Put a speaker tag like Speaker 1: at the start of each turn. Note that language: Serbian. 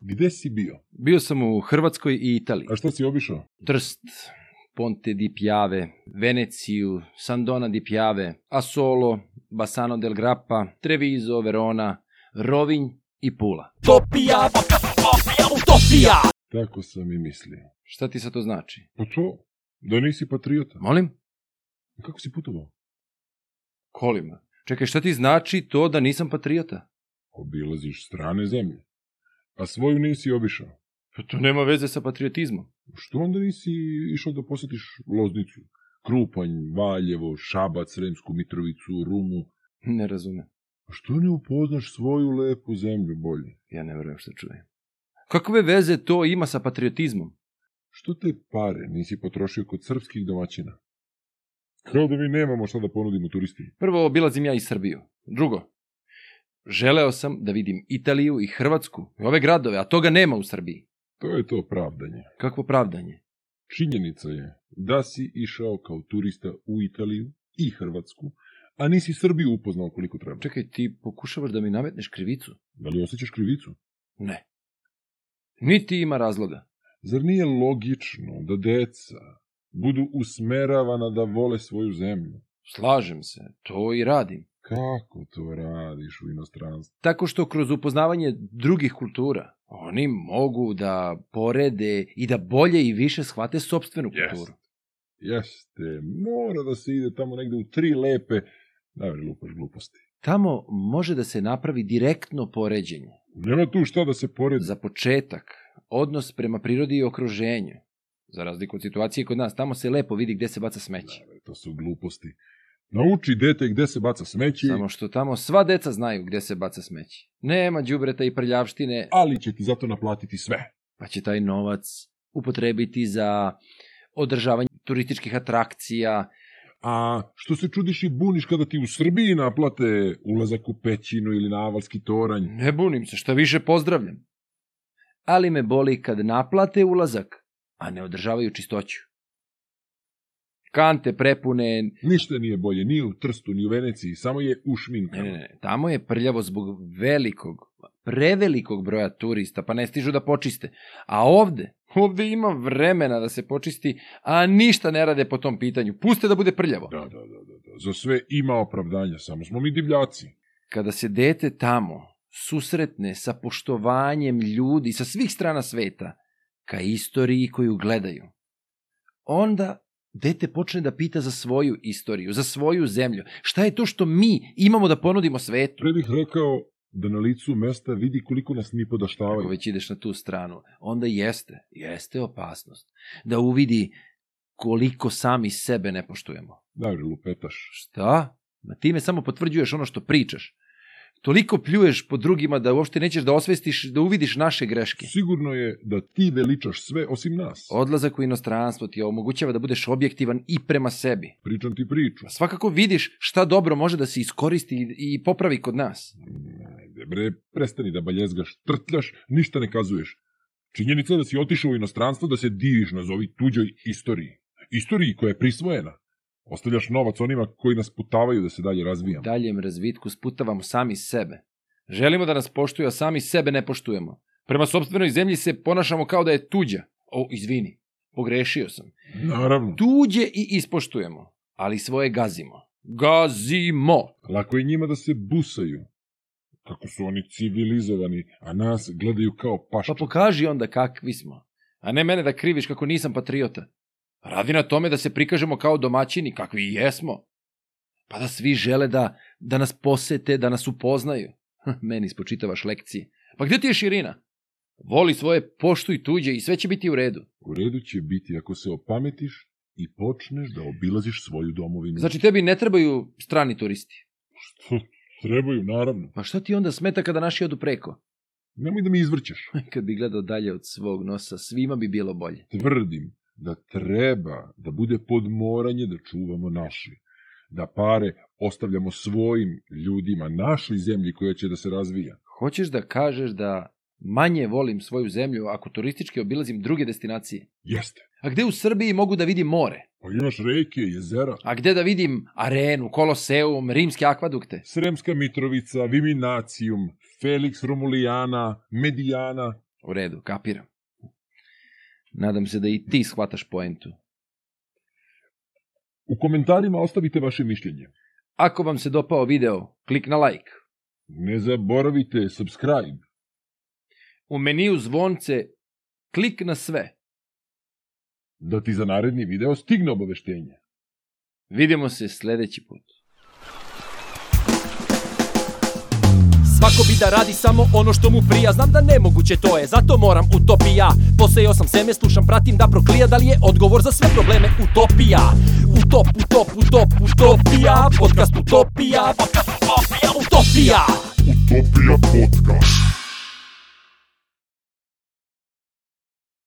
Speaker 1: Gde si bio?
Speaker 2: Bio sam u Hrvatskoj i Italiji.
Speaker 1: A šta si obišao?
Speaker 2: Trst, Ponte di Piave, Veneciju, Sandona di Piave, Asolo, Bassano del Grappa, Treviso, Verona, Rovinj i Pula.
Speaker 1: Tako sam i mislio.
Speaker 2: Šta ti sad to znači?
Speaker 1: Pa to? Da nisi patriota?
Speaker 2: Molim?
Speaker 1: Kako si putovao?
Speaker 2: Kolima. Čekaj, šta ti znači to da nisam patriota?
Speaker 1: Obilaziš strane zemlje. A svoju nisi obišao.
Speaker 2: Pa to nema veze sa patriotizmom.
Speaker 1: Što onda nisi išao da posjetiš Loznicu, Krupanj, Valjevo, Šabac, Sremsku Mitrovicu, Rumu?
Speaker 2: Ne razumem.
Speaker 1: A Što ne upoznaš svoju lepu zemlju bolje?
Speaker 2: Ja ne verujem što čujem. Kakve veze to ima sa patriotizmom?
Speaker 1: Što te pare nisi potrošio kod srpskih domaćina? Kao da mi nemamo šta da ponudimo turistima.
Speaker 2: Prvo, obilazim ja i Srbiju. Drugo, želeo sam da vidim Italiju i Hrvatsku, i ove gradove, a toga nema u Srbiji.
Speaker 1: To je to pravdanje.
Speaker 2: Kakvo pravdanje?
Speaker 1: Činjenica je da si išao kao turista u Italiju i Hrvatsku, a nisi Srbiju upoznao koliko treba.
Speaker 2: Čekaj, ti pokušavaš da mi nametneš krivicu?
Speaker 1: Da li osjećaš krivicu?
Speaker 2: Ne. Niti ima razloga.
Speaker 1: Zar nije logično da deca budu usmeravana da vole svoju zemlju?
Speaker 2: Slažem se, to i radim.
Speaker 1: Kako to radiš u inostranstvu?
Speaker 2: Tako što kroz upoznavanje drugih kultura oni mogu da porede i da bolje i više shvate sopstvenu
Speaker 1: Jest.
Speaker 2: kulturu.
Speaker 1: Jeste, mora da se ide tamo negde u tri lepe, najvre lupaš gluposti.
Speaker 2: Tamo može da se napravi direktno poređenje.
Speaker 1: Nema tu šta da se poredi.
Speaker 2: Za početak, odnos prema prirodi i okruženju. Za razliku od situacije kod nas, tamo se lepo vidi gde se baca smeće.
Speaker 1: Najvre, To su gluposti. Nauči dete gde se baca smeće,
Speaker 2: Samo što tamo sva deca znaju gde se baca smeće. Nema đubreta i prljavštine,
Speaker 1: ali će ti zato naplatiti sve.
Speaker 2: pa će taj novac upotrebiti za održavanje turističkih atrakcija.
Speaker 1: A što se čudiš i buniš kada ti u Srbiji naplate ulazak u pećinu ili na Avalski toranj?
Speaker 2: Ne bunim se, šta više pozdravljam. Ali me boli kad naplate ulazak, a ne održavaju čistoću. Kante prepune,
Speaker 1: Ništa nije bolje, ni u Trstu, ni u Veneciji, samo je ušminka.
Speaker 2: Ne, ne, ne, tamo je prljavo zbog velikog, prevelikog broja turista, pa ne stižu da počiste. A ovde, ovde ima vremena da se počisti, a ništa ne rade po tom pitanju. Puste da bude prljavo.
Speaker 1: Da, da, da, da, da. Za sve ima opravdanja, samo smo mi divljaci.
Speaker 2: Kada se dete tamo susretne sa poštovanjem ljudi sa svih strana sveta, ka istoriji koju gledaju, onda dete počne da pita za svoju istoriju, za svoju zemlju. Šta je to što mi imamo da ponudimo svetu?
Speaker 1: Pre bih rekao da na licu mesta vidi koliko nas mi
Speaker 2: Ako
Speaker 1: podaštavaju.
Speaker 2: već ideš na tu stranu, onda jeste, jeste opasnost. Da uvidi koliko sami sebe ne poštujemo.
Speaker 1: Najvre lupetaš.
Speaker 2: Šta? Na time samo potvrđuješ ono što pričaš. Toliko pljuješ po drugima da uopšte nećeš da osvestiš, da uvidiš naše greške.
Speaker 1: Sigurno je da ti veličaš sve osim nas.
Speaker 2: Odlazak u inostranstvo ti omogućava da budeš objektivan i prema sebi. Pa
Speaker 1: Pričam ti priču.
Speaker 2: Svakako vidiš šta dobro može da se iskoristi i i popravi kod nas.
Speaker 1: Ajde bre, prestani da baljezgaš, trtljaš, ništa ne kazuješ. Činjenica je da si otišao u inostranstvo da se diviš nazovi tuđoj istoriji. Istoriji koja je prisvojena. Ostavljaš novac onima koji nas putavaju da se dalje razvijamo.
Speaker 2: daljem razvitku sputavamo sami sebe. Želimo da nas poštuju, a sami sebe ne poštujemo. Prema sobstvenoj zemlji se ponašamo kao da je tuđa. O, izvini, pogrešio sam.
Speaker 1: Naravno.
Speaker 2: Tuđe i ispoštujemo, ali svoje gazimo. Gazimo!
Speaker 1: Lako je njima da se busaju. Kako su oni civilizovani, a nas gledaju kao pašče.
Speaker 2: Pa pokaži onda kakvi smo. A ne mene da kriviš kako nisam patriota. Radi na tome da se prikažemo kao domaćini, kakvi i jesmo. Pa da svi žele da, da nas posete, da nas upoznaju. Hm, Meni spočitavaš lekcije. Pa gde ti je širina? Voli svoje, poštuj tuđe i sve će biti u redu.
Speaker 1: U redu će biti ako se opametiš i počneš da obilaziš svoju domovinu.
Speaker 2: Znači tebi ne trebaju strani turisti.
Speaker 1: Što? Trebaju, naravno.
Speaker 2: Pa šta ti onda smeta kada naši odu preko?
Speaker 1: Nemoj da mi izvrćeš.
Speaker 2: Kad bi gledao dalje od svog nosa, svima bi bilo bolje.
Speaker 1: Tvrdim da treba da bude podmoranje da čuvamo naše. Da pare ostavljamo svojim ljudima, našoj zemlji koja će da se razvija.
Speaker 2: Hoćeš da kažeš da Manje volim svoju zemlju ako turistički obilazim druge destinacije.
Speaker 1: Jeste.
Speaker 2: A gde u Srbiji mogu da vidim more?
Speaker 1: Pa imaš reke, jezera,
Speaker 2: A gde da vidim arenu, koloseum, rimske akvadukte?
Speaker 1: Sremska Mitrovica, Viminacijum, Felix Romulijana, Medijana.
Speaker 2: U redu, kapiram. Nadam se da i ti shvataš poentu.
Speaker 1: U komentarima ostavite vaše mišljenje.
Speaker 2: Ako vam se dopao video, klik na like.
Speaker 1: Ne zaboravite subscribe.
Speaker 2: U meniju zvonce klik na sve.
Speaker 1: Da ti za naredni video stigne obaveštenje.
Speaker 2: Vidimo se sledeći put.
Speaker 3: Svako bi da radi samo ono što mu prija Znam da nemoguće to je, zato moram utopija Posejao sam seme, slušam, pratim da proklija Da li je odgovor za sve probleme utopija Utop, utop, utop, utopija Podcast utopija Podcast utopija Utopija
Speaker 4: Utopia Podcast.